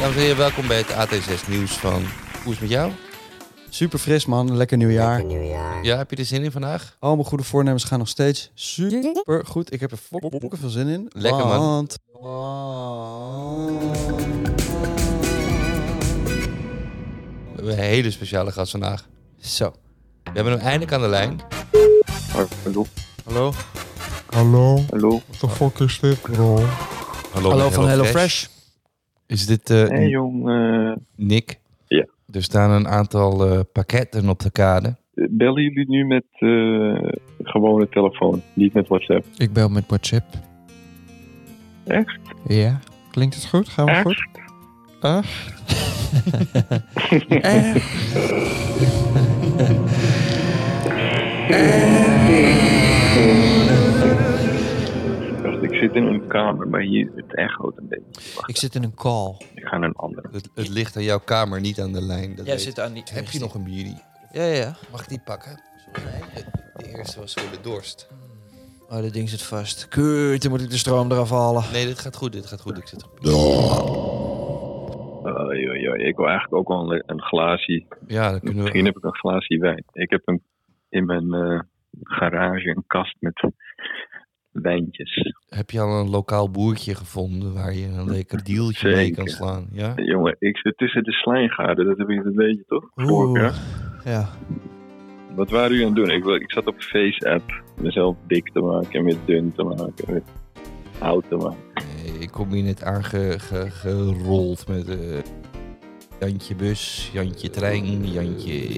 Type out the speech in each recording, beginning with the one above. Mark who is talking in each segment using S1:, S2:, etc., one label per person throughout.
S1: Dames en heren, welkom bij het AT6 nieuws van Hoe is het met jou?
S2: Super fris man, lekker nieuwjaar.
S1: Ja, heb je er zin in vandaag?
S2: Al mijn goede voornemens gaan nog steeds super goed. Ik heb er fokken veel zin in.
S1: Lekker, man. Oh,
S2: Want-
S1: We hebben een hele speciale gast vandaag.
S2: Zo.
S1: We hebben hem eindelijk aan de lijn.
S3: Hallo,
S2: Hallo.
S4: Hallo,
S3: hallo.
S4: what the fuck is dit, bro?
S1: Hallo,
S2: Hallo
S1: met
S2: van HelloFresh.
S1: Is dit eh,
S3: Hey jong, eh,
S1: Nick?
S3: Ja.
S1: Er staan een aantal eh, pakketten op de kade.
S3: bellen jullie nu met eh, gewone telefoon, niet met WhatsApp?
S4: Ik bel met WhatsApp.
S3: Echt?
S4: Ja. Klinkt het goed?
S1: Oh,
S4: Gaan we
S3: Echt?
S4: goed? Echt? Echt?
S3: Ik dacht, ik zit in een kamer, maar hier is het echo een beetje.
S5: Ik zit in een call.
S3: Ik ga naar een andere.
S1: Het, het ligt aan jouw kamer, niet aan de lijn. Dat
S5: Jij
S1: weet
S5: zit
S1: ik.
S5: aan die.
S1: Heb je nog een bierie?
S5: Ja, ja.
S1: Mag ik die pakken? De eerste was voor de dorst.
S5: Oh, dit ding zit vast. Kut, dan moet ik de stroom eraf halen.
S1: Nee, dit gaat goed, dit gaat goed. Ik zit op...
S3: Oei, oei, oei. Ik wil eigenlijk ook wel een, een glaasje.
S1: Ja, dan kunnen
S3: Misschien
S1: we...
S3: heb ik een glaasje wijn. Ik heb een, in mijn eh, garage een kast met wijntjes.
S1: Heb je al een lokaal boertje gevonden waar je een lekker dealtje mee kan
S3: Zeker.
S1: slaan? Ja?
S3: Jongen, ik zit tussen de slijngaarden. Dat hebben jullie een beetje, toch? Vorig jaar.
S5: Ja.
S3: Wat waren jullie aan het doen? Ik, wa- ik zat op Face-app mezelf dik te maken en weer dun te maken. en weer oud te maken.
S1: Ik kom hier net aangerold met eh, Jantje bus, Jantje trein, Jantje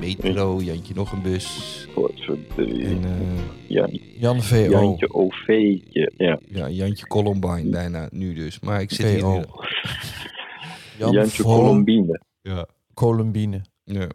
S1: metro, Jantje nog een bus.
S3: Godverdorie.
S1: En eh, oh.
S3: Ja,
S5: Jan VO.
S3: Jantje OV'tje. Ja.
S1: ja, Jantje Columbine bijna nu dus. Maar ik zit hier
S5: VO.
S1: nu.
S5: Jan
S3: Jantje
S5: VO.
S3: Colombine.
S1: Ja.
S5: Colombine.
S1: ja.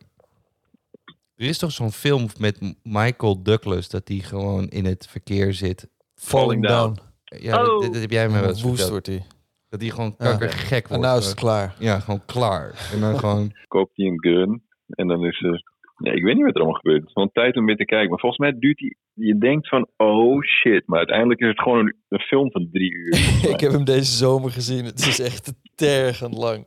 S1: Er is toch zo'n film met M- Michael Douglas dat hij gewoon in het verkeer zit.
S5: Falling down.
S1: Ja,
S3: Oh.
S1: dat- dat, dat heb jij me wel eens
S5: Woest
S1: verteld.
S5: wordt hij.
S1: Dat hij gewoon
S5: Ja.
S1: kakkergek
S5: En
S1: wordt.
S5: nou is het klaar.
S1: Ja, gewoon klaar. En dan gewoon...
S3: Koopt hij een gun en dan is er... Ja, ik weet niet wat er allemaal gebeurt. Het is wel een tijd om weer te kijken. Maar volgens mij duurt die... Je denkt van, oh shit. Maar uiteindelijk is het gewoon een, een film van drie uur. volgens mij.
S5: Ik heb hem deze zomer gezien. Het is echt tergend lang.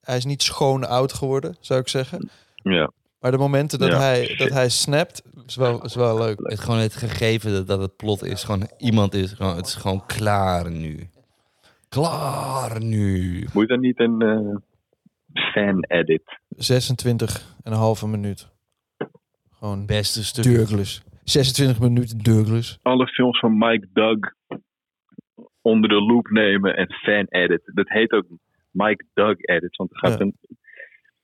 S5: Hij is niet schoon oud geworden, zou ik zeggen.
S3: ja.
S5: Maar de momenten dat,
S3: Ja,
S5: hij,
S3: shit.
S5: dat hij snapt, is wel, is wel leuk.
S1: Het, gewoon het gegeven dat, dat het plot is. Gewoon iemand is gewoon, het is gewoon klaar nu. Klaar nu.
S3: Moet dan niet een eh, fan-edit?
S5: 26 en een halve minuut. Gewoon
S1: Beste stuk.
S5: Douglas. 26 minuten Douglas.
S3: Alle films van Mike Doug onder de loep nemen en fan-edit. Dat heet ook Mike Doug-edit. Want er gaat,
S5: Ja.
S3: een,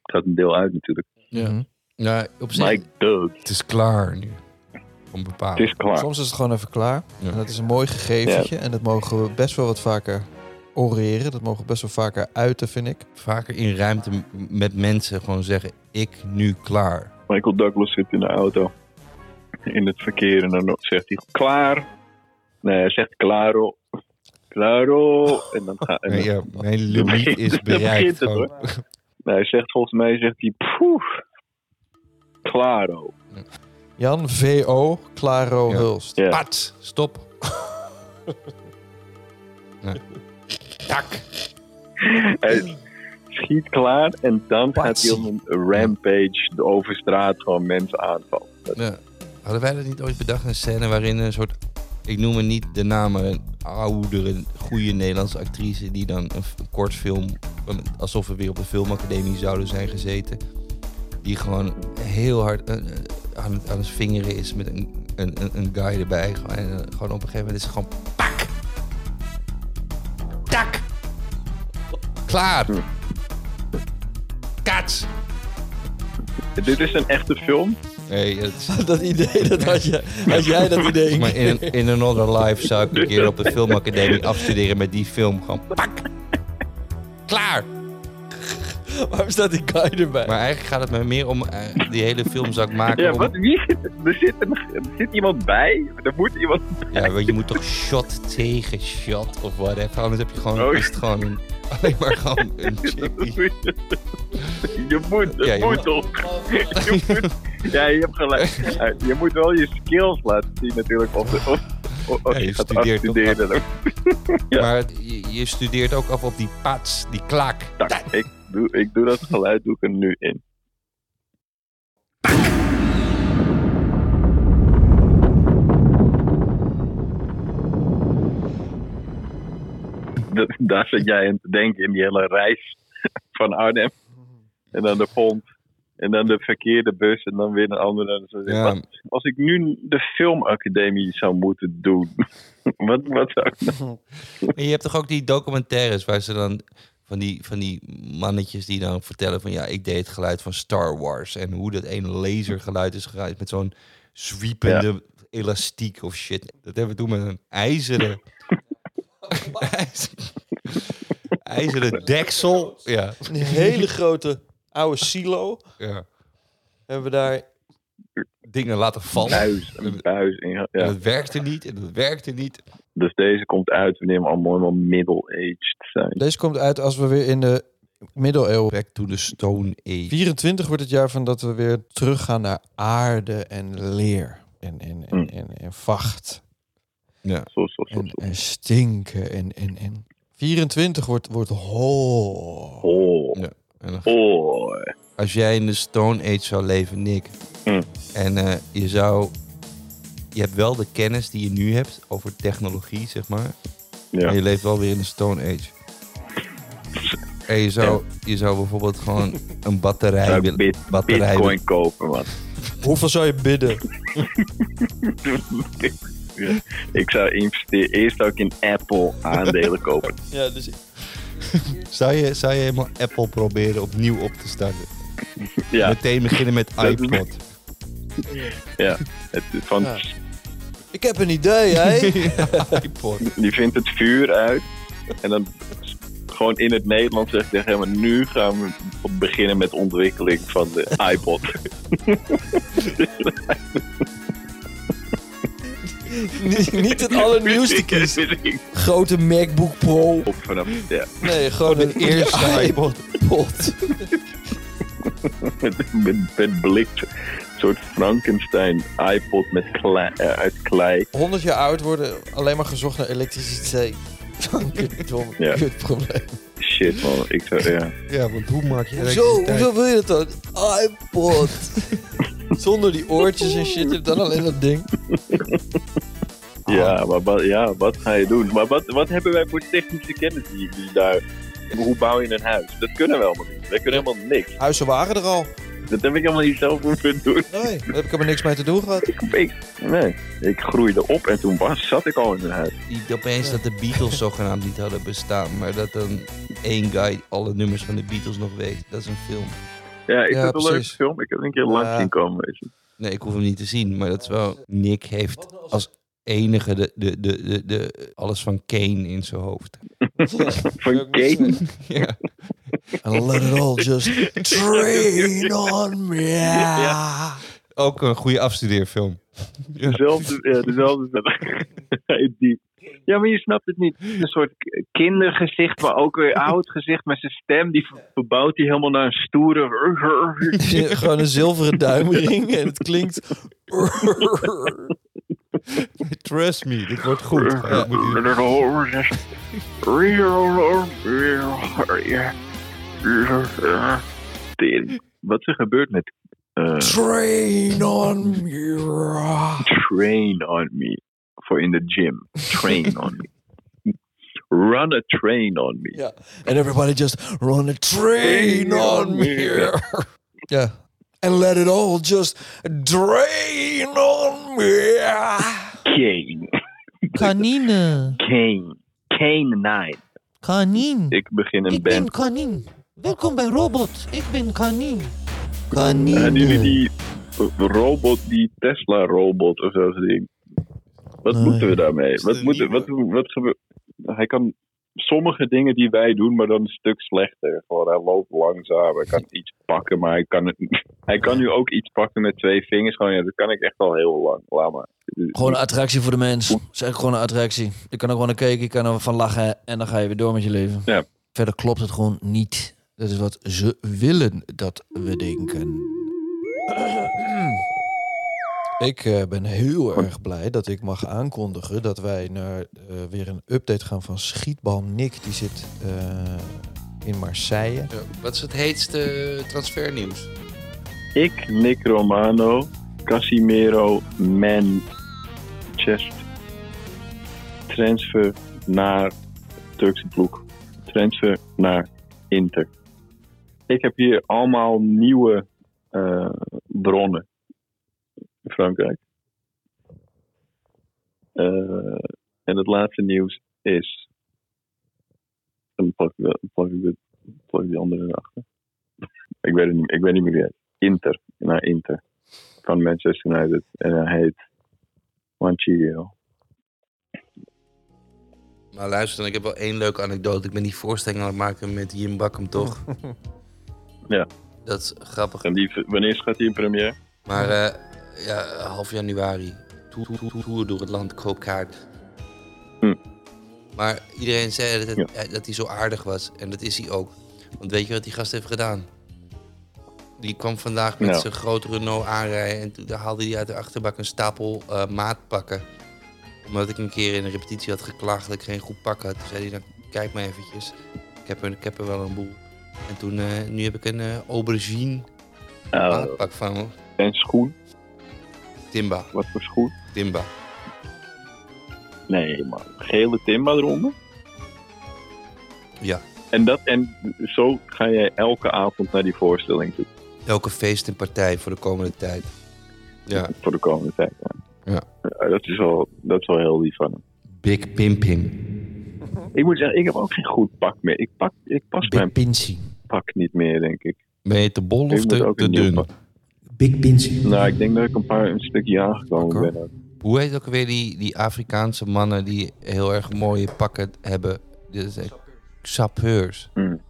S3: er gaat een deel uit natuurlijk.
S5: Mhm.
S1: Ja, op zich,
S3: Mike Doug.
S1: het is klaar nu. Om
S3: Het
S1: bepaalde.
S3: is klaar.
S5: Soms is het gewoon even klaar.
S1: Ja.
S5: En dat is een mooi gegeventje. En dat mogen we best wel wat vaker oreren. Dat mogen we best wel vaker uiten, vind ik.
S1: Vaker in ruimte m- met mensen gewoon zeggen, ik nu klaar.
S3: Michael Douglas zit in de auto. In het verkeer. En dan zegt hij klaar. Nee, hij zegt klaro. Klaro. En dan gaat en
S1: Nee,
S3: dan-
S1: ja, mijn limiet is
S3: Dan begint
S1: bereikt.
S3: het,
S1: gewoon.
S3: nee, hij zegt volgens mij zegt hij poef. Klaro.
S5: Jan V.O. Claro
S1: Ja.
S5: Hulst.
S3: Ja.
S4: Pat, stop.
S3: Hij schiet klaar en dan gaat hij
S5: Patsie.
S3: op een rampage de overstraat gewoon mensen aanvallen.
S1: Ja. Hadden wij dat niet ooit bedacht, een scène waarin een soort... Ik noem het niet de namen, een oudere, goede Nederlandse actrice... die dan een, f- een kort film, van- alsof we weer op een filmacademie zouden zijn gezeten... die gewoon heel hard eh, eh, aan, het- aan het vingeren is met een, een, een- een guy erbij. Gewoon- En eh, gewoon op een gegeven moment is het gewoon... Pak! Tak! Klaar! Kaats!
S3: Dit is een echte film.
S1: Nee, dat is...
S5: Dat idee, dat had, je, had jij dat idee.
S1: Maar in, een- in another life zou ik een keer op de filmacademie afstuderen met die film. Gewoon pak! Klaar!
S5: Waarom staat die guy erbij?
S1: Maar eigenlijk gaat het me meer om eh, die hele film zou ik maken.
S3: Ja,
S1: om-
S3: wat, wie zit, er, zit een, er zit iemand bij. Er moet iemand.
S1: ja, want je moet toch shot tegen shot of whatever. Anders heb je gewoon,
S3: Oh.
S1: is het gewoon een- alleen maar gewoon een chick die-
S3: Je moet, het
S1: Ja, je
S3: moet
S1: moet-
S3: toch. Je moet, ja, je hebt gelijk. Eh, Je moet wel je skills laten zien natuurlijk. Of, of, of, of
S1: Ja,
S3: je,
S1: je
S3: gaat
S1: studeert toch
S3: afstuderen. Ja.
S1: Maar het- je, je studeert ook af op die pats, die klaak.
S3: Tak, Nou, ik, doe, ik doe dat geluid doe ik er nu in. Da- Daar zit jij aan te denken in die hele reis van Arnhem. En dan de pont. En dan de verkeerde bus. En dan weer een andere. En zo.
S1: Ja.
S3: Wat- als ik nu de filmacademie zou moeten doen. wat, wat zou ik nou-
S1: En je hebt toch ook die documentaires waar ze dan van die, van die mannetjes die dan vertellen van ja, ik deed het geluid van Star Wars en hoe dat ene lasergeluid is geluid met zo'n zwiepende elastiek of shit. Dat hebben we toen met een ijzeren ijzeren, ijzeren deksel. Ja,
S5: Een hele grote oude silo
S1: ja.
S5: hebben we daar.
S1: Dingen laten vallen.
S3: buis,
S1: En
S3: een buis in? Ja.
S1: Dat werkte niet en dat werkte niet.
S3: Dus deze komt uit wanneer we allemaal helemaal middle-aged zijn.
S5: Deze komt uit als we weer in de middeleeuwen.
S1: Back to the Stone Age.
S5: 24 wordt het jaar van dat we weer teruggaan naar aarde en leer. En, en, en,
S3: Hmm.
S5: en, en vacht.
S3: Zo, zo, zo,
S5: En,
S3: zo.
S5: en stinken. En, en, en. 24 wordt, wordt ho.
S3: Oh,
S1: En dan
S3: oh.
S1: als jij in de Stone Age zou leven, Nick.
S3: Mm.
S1: En eh, je zou. Je hebt wel de kennis die je nu hebt over technologie, zeg maar.
S3: Ja.
S1: Maar je leeft wel weer in de Stone Age. En je zou, je zou bijvoorbeeld gewoon een
S3: Zou
S1: batterij
S3: ik
S1: willen.
S3: bit-
S1: batterij willen-
S3: Bitcoin kopen, man.
S5: Hoeveel zou je bidden?
S3: Ja. Ik zou investeren. Eerst zou ik in Apple aandelen kopen.
S5: Ja, dus
S1: Zou, je, zou je helemaal Apple proberen opnieuw op te starten?
S3: Ja,
S1: Meteen beginnen met
S3: Dat-
S1: iPod.
S3: het, van,
S5: Ja. ik heb een idee, hè?
S1: iPod.
S3: die vindt het vuur uit. En dan s- gewoon in het Nederlands zegt tegen hem... Nu gaan we beginnen met de ontwikkeling van de iPod.
S5: niet, niet het allernieuwste kies. Grote MacBook Pro.
S3: Op vanaf, ja.
S5: Nee, gewoon
S1: De eerste iPod.
S5: iPod.
S3: met, met, met blik. Een soort Frankenstein iPod met klei, eh, uit klei.
S5: 100 jaar oud worden, alleen maar gezocht naar elektriciteit. Kutdomme,
S3: Ja.
S5: kutprobleem.
S3: Shit man, ik zou, ja.
S1: Ja, want hoe maak je
S5: Hoezo,
S1: elektriciteit?
S5: hoezo wil je dat dan? iPod. Zonder die oortjes en shit, je hebt dan alleen dat ding. Oh.
S3: Ja, maar wat, ja, wat ga je doen? Maar wat, wat hebben wij voor technische kennis die, die daar... Hoe bouw je een huis? Dat kunnen we allemaal niet. We kunnen helemaal niks.
S5: Huizen waren er al.
S3: Dat heb ik helemaal niet zelf moeten doen.
S5: Nee, daar heb ik helemaal niks mee te doen gehad.
S3: Ik, ik, nee, ik groeide op en toen was, zat ik al in een huis.
S1: Niet opeens dat de Beatles zogenaamd niet hadden bestaan, maar dat dan één guy alle nummers van de Beatles nog weet. Dat is een film.
S3: Ja, ik
S5: Ja,
S3: vind het een leuke
S5: precies.
S3: film. Ik heb het een keer lang
S5: Ja.
S3: zien komen. Weet je.
S1: Nee, ik hoef hem niet te zien, maar dat is wel. Nick heeft als enige de, de, de, de, de- alles van Kane in zijn hoofd.
S3: Van Kane.
S1: Ja.
S5: And let it all just train on me.
S3: Ja.
S1: Ook een goede afstudeerfilm.
S3: Dezelfde, ja, dezelfde. die, Ja, maar je snapt het niet. Het is Een soort k- kindergezicht, maar ook weer oud gezicht. Maar zijn stem, die ver- verbouwt hij helemaal naar een stoere...
S5: Gewoon een zilveren duimring en het klinkt...
S6: Trust me, dit wordt goed. Ja, moet u-
S3: Dit- Wat er gebeurt met eh,
S5: Train on me.
S3: train on me voor in de gym. Train on me. Run a train on me.
S5: Ja. And everybody just run a train on me.
S7: Ja.
S5: And let it all just drain on me.
S3: Kane.
S8: Kanine.
S3: Kane. Kane Nine.
S8: Kanien.
S3: Ik begin een band.
S8: kanien. Welkom bij Robot. Ik ben kanien.
S3: Hadden
S5: Kanine.
S3: Eh, jullie die robot, die Tesla-robot of zo'n ding? Wat
S5: Nee.
S3: moeten we daarmee?
S6: Is het
S3: Wat,
S6: een
S3: moet,
S6: nieuwe?
S3: wat, wat gebeurt... Hij kan sommige dingen die wij doen, maar dan een stuk slechter. Gewoon, hij loopt langzaam, hij kan iets pakken, maar hij kan, het- hij kan nu ook iets pakken met twee vingers. Gewoon, ja, dat kan ik echt al heel lang. Laat maar.
S5: Gewoon een attractie voor de mens. Zeg gewoon een attractie. Je kan er gewoon naar kijken, je kan er van lachen en dan ga je weer door met je leven.
S3: Ja.
S5: Verder klopt het gewoon niet. Dat is wat ze willen dat we denken. Ik eh, ben heel erg blij dat ik mag aankondigen dat wij naar, eh, weer een update gaan van Schietbal Nick. Die zit eh, in Marseille.
S6: Ja, Wat is het heetste transfernieuws?
S3: Ik, Nick Romano, Casimiro, Manchester. Transfer naar Turkse ploeg. Transfer naar Inter. Ik heb hier allemaal nieuwe eh, bronnen in Frankrijk. Eh, en het laatste nieuws is. Dan plak ik, dat- plak ik, dat- plak ik die andere erachter. Ik weet het niet, ik weet niet meer wie hij heet. Inter. Naar Inter. Van Manchester United. En hij heet Manchillo.
S6: Nou luister, dan, ik heb wel één leuke anekdote. Ik ben die voorstelling aan het maken met Jim Bakkum, toch?
S3: Ja.
S6: Dat is grappig.
S3: En die, wanneer gaat hij in première?
S6: Maar eh, ja, half januari. Toer, toer, toer, toer door het land, koopkaart.
S3: Hm.
S6: Maar iedereen zei dat, het- eh, dat hij zo aardig was. En dat is hij ook. Want weet je wat die gast heeft gedaan? Die kwam vandaag met
S3: Nou.
S6: zijn grote Renault aanrijden. En toen daar haalde hij uit de achterbak een stapel eh, maatpakken. Omdat ik een keer in een repetitie had geklaagd dat ik geen goed pak had. Toen zei hij dan, kijk maar eventjes. Ik heb er, ik heb er wel een boel. En toen, eh, nu heb ik een eh, aubergine
S3: Ah,
S6: maatpak van me.
S3: en schoen?
S6: Timba,
S3: Wat voor schoen?
S6: Timba.
S3: Nee, man. Gele Timba eronder?
S6: Ja.
S3: En, dat, en zo ga jij elke avond naar die voorstelling toe.
S6: Elke feest en partij voor de komende tijd. Ja.
S3: Voor de komende tijd. Ja.
S6: Ja.
S3: Ja, dat, is wel, dat is wel heel lief van hem.
S6: Big Pimping.
S3: Ik moet zeggen, ik heb ook geen goed pak meer. Ik, pak, ik pas mijn
S5: Pinsi.
S3: pak niet meer, denk ik.
S6: Ben je te bol of
S3: ik moet
S6: te,
S3: ook
S6: te
S3: een nieuw
S6: dun?
S3: pak.
S5: Big Pinsi.
S3: Nou, ik denk dat ik een paar een stukje aangekomen
S5: Oké.
S3: ben. ook.
S6: Hoe heet ook weer die, die Afrikaanse mannen die heel erg mooie pakken hebben? Dit is echt sapeurs.
S3: Hmm.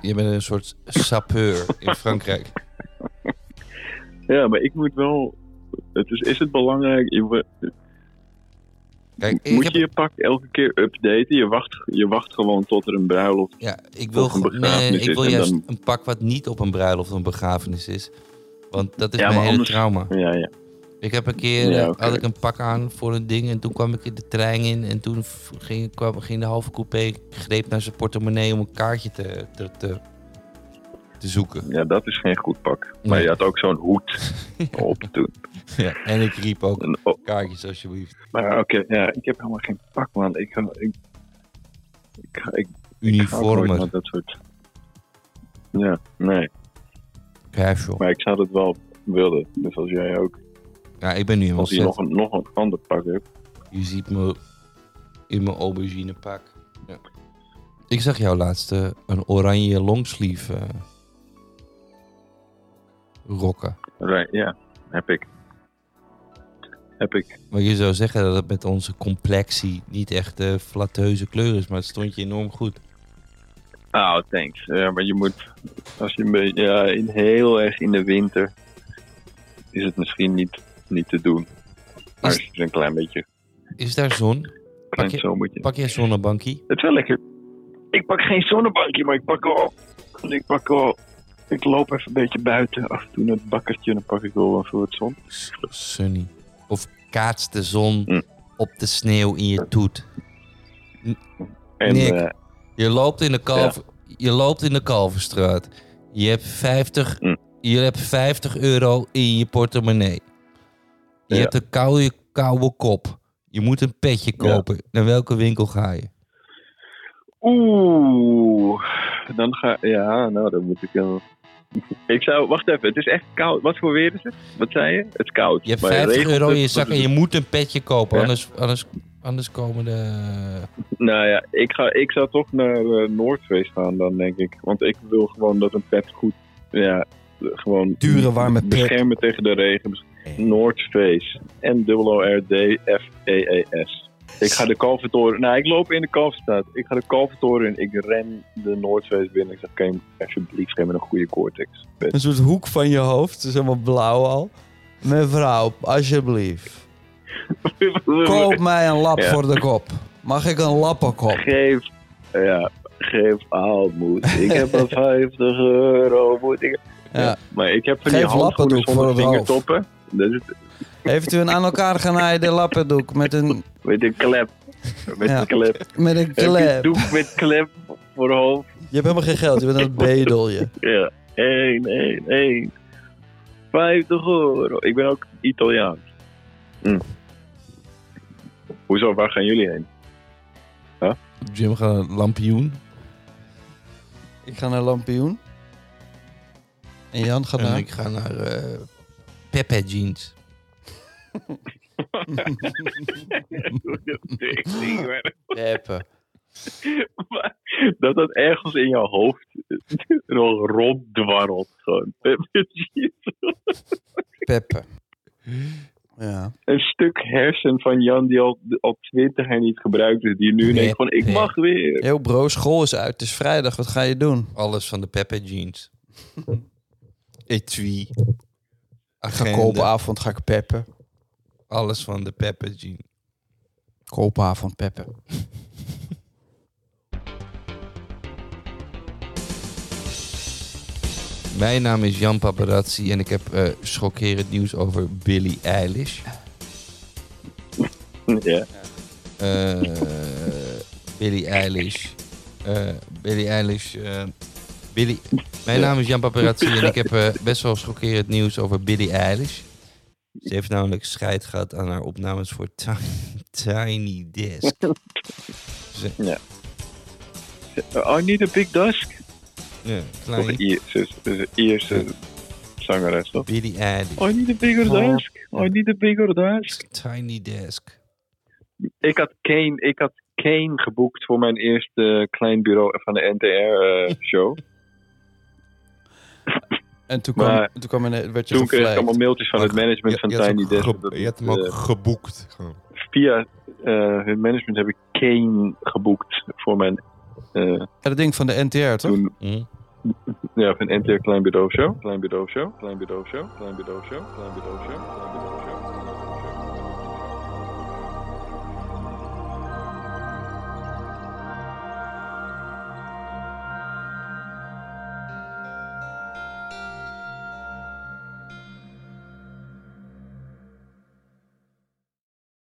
S6: Je bent een soort sapeur in Frankrijk.
S3: Ja, maar ik moet wel. Het is, is het belangrijk? Je, we-
S6: Kijk, ik,
S3: moet je
S6: heb,
S3: je pak elke keer updaten? Je wacht, je wacht gewoon tot er een bruiloft.
S6: ja, ik wil,
S3: Of een
S6: ge- nee,
S3: begrafenis
S6: ik wil
S3: is en
S6: juist
S3: dan-
S6: een pak wat niet op een bruiloft of een begrafenis is. Want dat is
S3: Ja,
S6: mijn
S3: maar
S6: hele
S3: anders-
S6: trauma.
S3: Ja, ja.
S6: Ik heb een keer
S3: Ja,
S6: eh,
S3: oké.
S6: had ik een pak aan voor een ding en toen kwam ik in de trein in en toen f- ging, kwam, ging de halve coupé ik greep naar zijn portemonnee om een kaartje te, te, te, te zoeken.
S3: ja, dat is geen goed pak. Maar
S6: Nee.
S3: je had ook zo'n hoed op toen.
S6: Ja, en ik riep ook
S3: En, oh,
S6: kaartjes alsjeblieft.
S3: maar oké, ja, ik heb helemaal geen pak, man. Ik, ga- ik, ik, ga- ik, ik ga ook nooit
S6: Uniformen,
S3: naar dat soort. Ja, nee.
S6: casual.
S3: Maar ik zou dat wel willen. Dus als jij ook.
S6: Ja, ik ben nu helemaal
S3: Als je nog
S6: set.
S3: een, nog een ander pak hebt.
S6: Je ziet me in mijn aubergine pak. Ja. Ik zag jou laatst eh, een oranje longsleeve eh, rokken.
S3: Right, ja, heb ik. Heb ik.
S6: Maar je zou zeggen dat het met onze complexie niet echt de flatteuze kleur is, maar het stond je enorm goed.
S3: Oh, thanks. Ja, maar je moet, als je een beetje, ja, in, heel erg in de winter, is het misschien niet, niet te doen. Maar
S6: Is-
S3: als je er een klein beetje,
S6: Is daar zon?
S1: Pak
S3: Klein
S1: je-
S3: zomertje.
S1: Pak je een zonnebankie?
S3: Het is wel lekker. Ik pak geen zonnebankje, maar ik pak al. Ik pak al. Ik loop even een beetje buiten. Af en toe naar het bakkertje en dan pak ik wel even wat zon.
S1: S- Sunny. Of kaatst de zon
S3: Hm.
S1: op de sneeuw in je toet.
S3: En
S1: Nick.
S3: eh,
S1: Je loopt in de, kalf, je loopt in de Kalverstraat. Je hebt 50,
S3: Hm.
S1: je hebt 50 euro in je portemonnee. Je
S3: Ja.
S1: hebt een koude, koude kop. Je moet een petje
S3: Ja.
S1: kopen. Naar welke winkel ga je?
S3: oeh. Dan ga Ja, nou dan moet ik wel. Ik zou. Wacht even, het is echt koud. Wat voor weer is het? Wat zei je? Het is koud.
S1: Je hebt
S3: Maar
S1: 50
S3: regent
S1: euro in je
S3: het?
S1: zak en je moet een petje kopen.
S3: Ja.
S1: Anders, anders, anders komen de...
S3: Nou ja, ik, ga, ik zou toch naar eh, Noordfeest gaan dan, denk ik. Want ik wil gewoon dat een pet goed... Ja, gewoon...
S5: Dure, warme pet.
S3: Beschermen tegen de regen. Noordfeest. En F-E-E-S. E Ik ga de Kalvertoren... Nou, ik loop in de Kalverstraat. Ik ga de Kalvertoren in. Ik ren de Noordfeest binnen. Ik zeg, kan je alsjeblieft geef me een goede Cortex.
S5: Een soort hoek van je hoofd, het is helemaal blauw al. Mevrouw, alsjeblieft. Koop mij een lap
S3: Ja.
S5: voor de kop. Mag ik een lappenkop?
S3: Geef... Ja, geef aalmoed. Ik heb al 50 euro. Moet ik...
S5: Ja.
S3: Maar ik heb van
S5: Geef
S3: die handschoenen
S5: lappendoek voor
S3: zonder
S5: het hoofd.
S3: vingertoppen. Dat is
S5: Heeft u een aan elkaar genaaide lappendoek met een,
S3: Met een klep. Met
S5: Ja.
S3: een klep.
S5: met een
S3: Heb je
S5: klep?
S3: doek met klep voor hoofd?
S5: Je hebt helemaal geen geld, je bent een bedelje.
S3: Ja. 1, 1, 1. 50 euro. Ik ben ook Italiaans. Hm. Hoezo, waar gaan jullie heen?
S1: Jim gaat een lampioen.
S5: Ik ga naar Lampioen. En Jan gaat
S1: En
S5: naar...
S1: ik ga naar eh, Pepe Jeans.
S3: Ik zie maar
S5: Peppe.
S3: dat dat ergens in jouw hoofd nog ronddwarrelt. Gewoon.
S5: Peppe. Ja.
S3: Een stuk hersen van Jan die al, al 20 jaar niet gebruikt is. Die nu denkt van, ik mag weer.
S5: Yo bro, school is uit, het is vrijdag, wat ga je doen?
S1: Alles van de Pepe Jeans. Etui.
S5: Ik ga
S1: Agenda.
S5: koopavond, ga ik peppen.
S1: Alles van de Pepe Jeans.
S5: Koopavond peppen.
S1: Mijn naam is Jan Paparazzi en ik heb eh, schokkerend nieuws over Billie Eilish.
S3: Ja.
S1: Eh, Billie Eilish. Eh, Billie Eilish. eh, Billie... Mijn naam is Jan Paparazzi en ik heb eh, best wel schokkerend nieuws over Billie Eilish. Ze heeft namelijk scheid gehad aan haar opnames voor Ti- Tiny Desk.
S3: I need a Oh, big desk.
S1: Ja,
S3: Of
S1: klein.
S3: Ierse, Ierse zangeres, toch?
S1: Billie Eilish.
S3: I need a bigger desk. I need a bigger desk.
S1: Tiny Desk.
S3: Ik had Kane, ik had Kane geboekt voor mijn eerste klein bureau van de NTR-show.
S5: En toen kwam,
S3: Maar-
S5: toen kwam een, werd je
S3: Toen kreeg ik
S5: gevleid.
S3: allemaal mailtjes van het management van Tiny Desk. dat het, eh,
S1: geboekt.
S3: via eh, hun management heb ik Kane geboekt voor mijn... eh,
S5: Ja, dat ding van de NTR, toch?
S3: toen, ja, van NTR Klein Bureau Show. Klein Bureau Show. Klein Bureau Show. Klein Bureau Show. Klein Bureau Show. Klein Bureau Show. Klein Bureau Show.